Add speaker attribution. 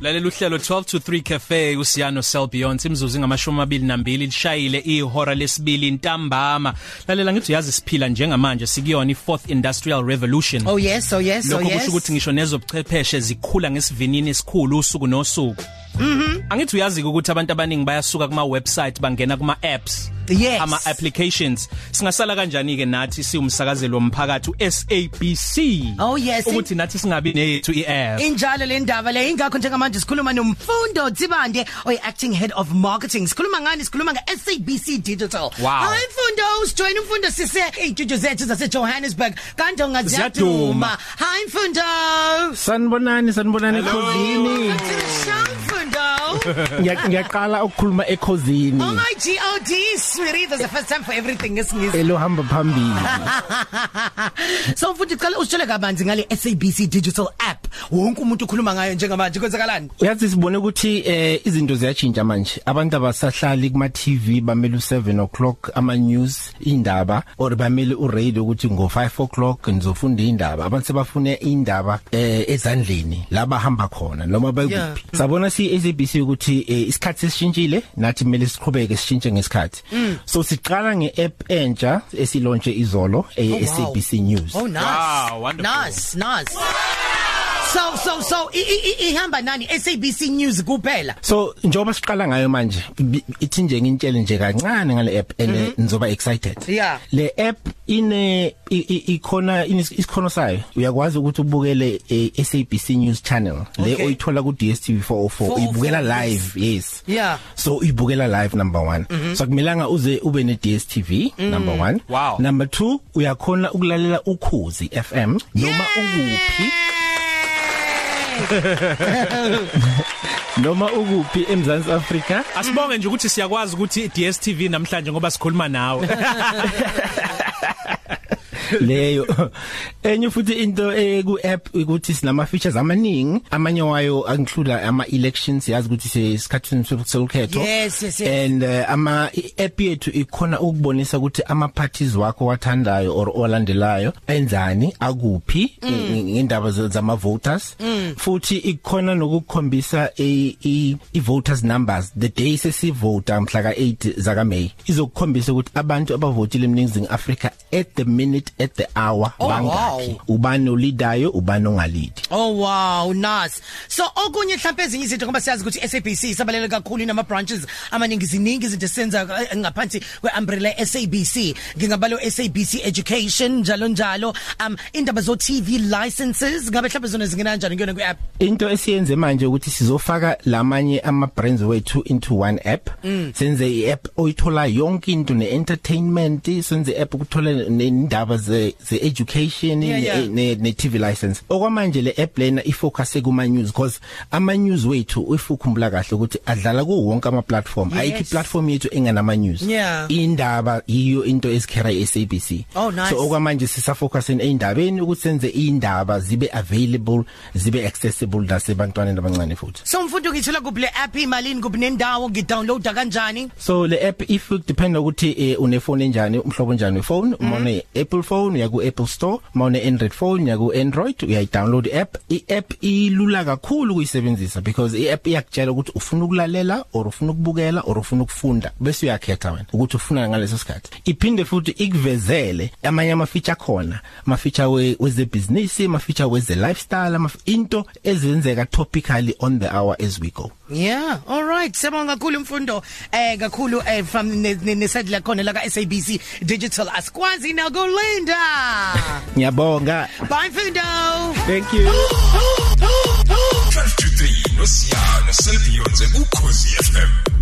Speaker 1: Lalela uhlelo 12 to 3 cafe uSiyano Selbeyond imzuzu ngamashumi amabili nambili lishayile ihora lesibili intambama lalela ngithi uyazi siphila njengamanje sikuyona i4th industrial revolution
Speaker 2: Oh yes, oh yes, oh
Speaker 1: lokho
Speaker 2: yes.
Speaker 1: kusho ukuthi ngisho nezobuchwepheshe zikhula ngesivinini esikhulu usuku nosuku
Speaker 2: Mm-hmm.
Speaker 1: Mhm angithi uyazi ukuthi abantu abaningi bayasuka kuma website bangena kuma apps
Speaker 2: Yes.
Speaker 1: ama applications singasala kanjani ke nathi siwumsakazelo womphakathi uSABC
Speaker 2: Oh, yes.
Speaker 1: ukuthi nathi singabi nethu iapp
Speaker 2: Injalo le ndaba le ingakho njengamanje sikhuluma nomfundo Dzibande oy acting head of marketing. Sikhuluma ngani? Sikhuluma nge SABC Digital.
Speaker 1: Wow.
Speaker 2: Hayi mfundo, usijoin umfundo sise eintuthu zethu zase Johannesburg. Kanti
Speaker 1: Ziyaduma.
Speaker 2: ongaziyaduma. Hayi mfundo.
Speaker 3: Sanibonani sanibonani
Speaker 2: Welcome
Speaker 3: ekhosini.
Speaker 2: to the show, mfundo.
Speaker 3: Ngiya- Ngiyaqala ukukhuluma
Speaker 2: Oh
Speaker 3: ekhosini.
Speaker 2: my god, sweetie, there's a first time for everything esingisi.
Speaker 3: Elo hamba phambili.
Speaker 2: So mfundo uqale usitshele kabanzi ngale SABC Digital app. Wonke umuntu ukhuluma ngayo njengamanje. Kwenzakalani?
Speaker 3: Uyazi sibone ukuthi eh izinto ziyachinja manje. Abantu abasahlali kuma TV bamele u7 o'clock ama news indaba or bamele uradio ukuthi ngo 5 o'clock ngizofunda indaba. Abantu sebafune indaba eh ezandleni laba hamba khona noma
Speaker 2: Yeah.
Speaker 3: bekuphi. Sabona si SABC ukuthi eh, isikhathi sishintshile nathi kumele siqhubeke sishintshe
Speaker 2: Mm.
Speaker 3: ngesikhathi. So siqala ngeapp entsha esilaunche izolo
Speaker 2: Oh,
Speaker 3: eh
Speaker 2: wow.
Speaker 3: SABC News.
Speaker 2: Oh nice.
Speaker 1: Wow, wonderful.
Speaker 2: Nice, nice. So so so i- i- i- ihamba nani SABC News kuphela.
Speaker 3: so njoba siqala ngayo manje bi- ithi nje ngintshele nje kancane ngale app ene
Speaker 2: Mhm.
Speaker 3: nizoba excited
Speaker 2: Yeah.
Speaker 3: le app ine i- i- ikhona ine- isikhono sayo uyakwazi ukuthi ubukele eh, SABC News channel le
Speaker 2: Okay.
Speaker 3: oyithola ku DStv 404
Speaker 2: 404,
Speaker 3: uyibukela
Speaker 2: yes.
Speaker 3: live yes
Speaker 2: Yeah.
Speaker 3: so uyibukela live number
Speaker 2: Mhm.
Speaker 3: 1 so kumelanga uze ube ne DStv
Speaker 2: Mm.
Speaker 3: number 1
Speaker 1: Wow.
Speaker 3: number 2 uyakhona ukulalela ukhozi FM noma ukuphi noma ukuphi eMzansi Africa
Speaker 1: Asibonge nje ukuthi siyakwazi ukuthi DStv namhlanje ngoba sikhuluma nawe.
Speaker 3: leyo enye futhi into eh, ku app ukuthi sinama features amaningi amanye wayo angihlula ama elections yazi ukuthi sesikhathini sokukhetho
Speaker 2: Yes, yes, yes.
Speaker 3: and uh, ama i- app yethu ikhona ukubonisa ukuthi ama parties wakho wathandayo or olandelayo enzani akuphi
Speaker 2: Mm.
Speaker 3: nge- ngendaba ze- zama voters futhi ikhona nokukhombisa i- i i voters numbers the day sesivota mhla ka 8 zaka May izokukhombisa ukuthi abantu abavotile eMningizimu Africa at the minute at the hour
Speaker 2: Oh,
Speaker 3: bangaki ubani olidayo ubani ongalidi
Speaker 2: Oh wow, nice. So okunye mhlawumbe ezinye izinto ngoba siyazi ukuthi SABC isabalele kakhulu inama branches amaningi ziningi izinto esenza eh, ngaphansi kweumbrella SABC. Ngingabalo SABC Education njalo njalo. Um indaba zo TV licenses ngabe mhlawumbe zona zingena kanjani kuyona kwi app?
Speaker 3: into esiyenze manje ukuthi sizofaka lamanye ama brands wethu into one app
Speaker 2: Mm.
Speaker 3: senze iapp oyithola yonke into neentertainment senze iapp ukuthola neindaba ze ze education
Speaker 2: Yeah, yeah.
Speaker 3: ne- ne ne TV license okwamanje le app lena ifocus kuma news because ama news wethu ifukhumbula kahle ukuthi adlala ku wonke ama platform ayikho platform yethu enganama news
Speaker 2: Yeah.
Speaker 3: indaba yiyo into esikhera iSABC
Speaker 2: Oh, nice.
Speaker 3: so okwamanje sisafocusing eindabeni ukuthi senze indaba zibe available zibe accessible lasebantwaneni abancane futhi
Speaker 2: So mfundo ngithola kuphi le app imali kuphi nendawo ngidownloada kanjani?
Speaker 3: so le app if depend ukuthi eh, une phone enjani umhlobo njani phone uma une Apple phone uya ku Apple Store uma une Android phone uya ku Android uyayidownload app i app ilula kakhulu ukuyisebenzisa because i app iyakutshela ukuthi ufuna ukulalela or ufuna ukubukela or ufuna ukufunda bese uyakhetha wena ukuthi ufuna ngaleso sikhathi iphinde futhi ikuvezele amanye ama feature khona ama feature we weze business ama feature weze lifestyle ama into ezenzeka topically on the hour as we go
Speaker 2: Yeah, all right. Siyabonga kakhulu mfundo. Eh kakhulu eh from ne- ne- neside la khona la ka SABC Digital Askwazi now go Linda.
Speaker 3: ngiyabonga
Speaker 2: Bye mfundo.
Speaker 3: thank you
Speaker 4: 12 to 3 noSiyana Selbionze ukhosi FM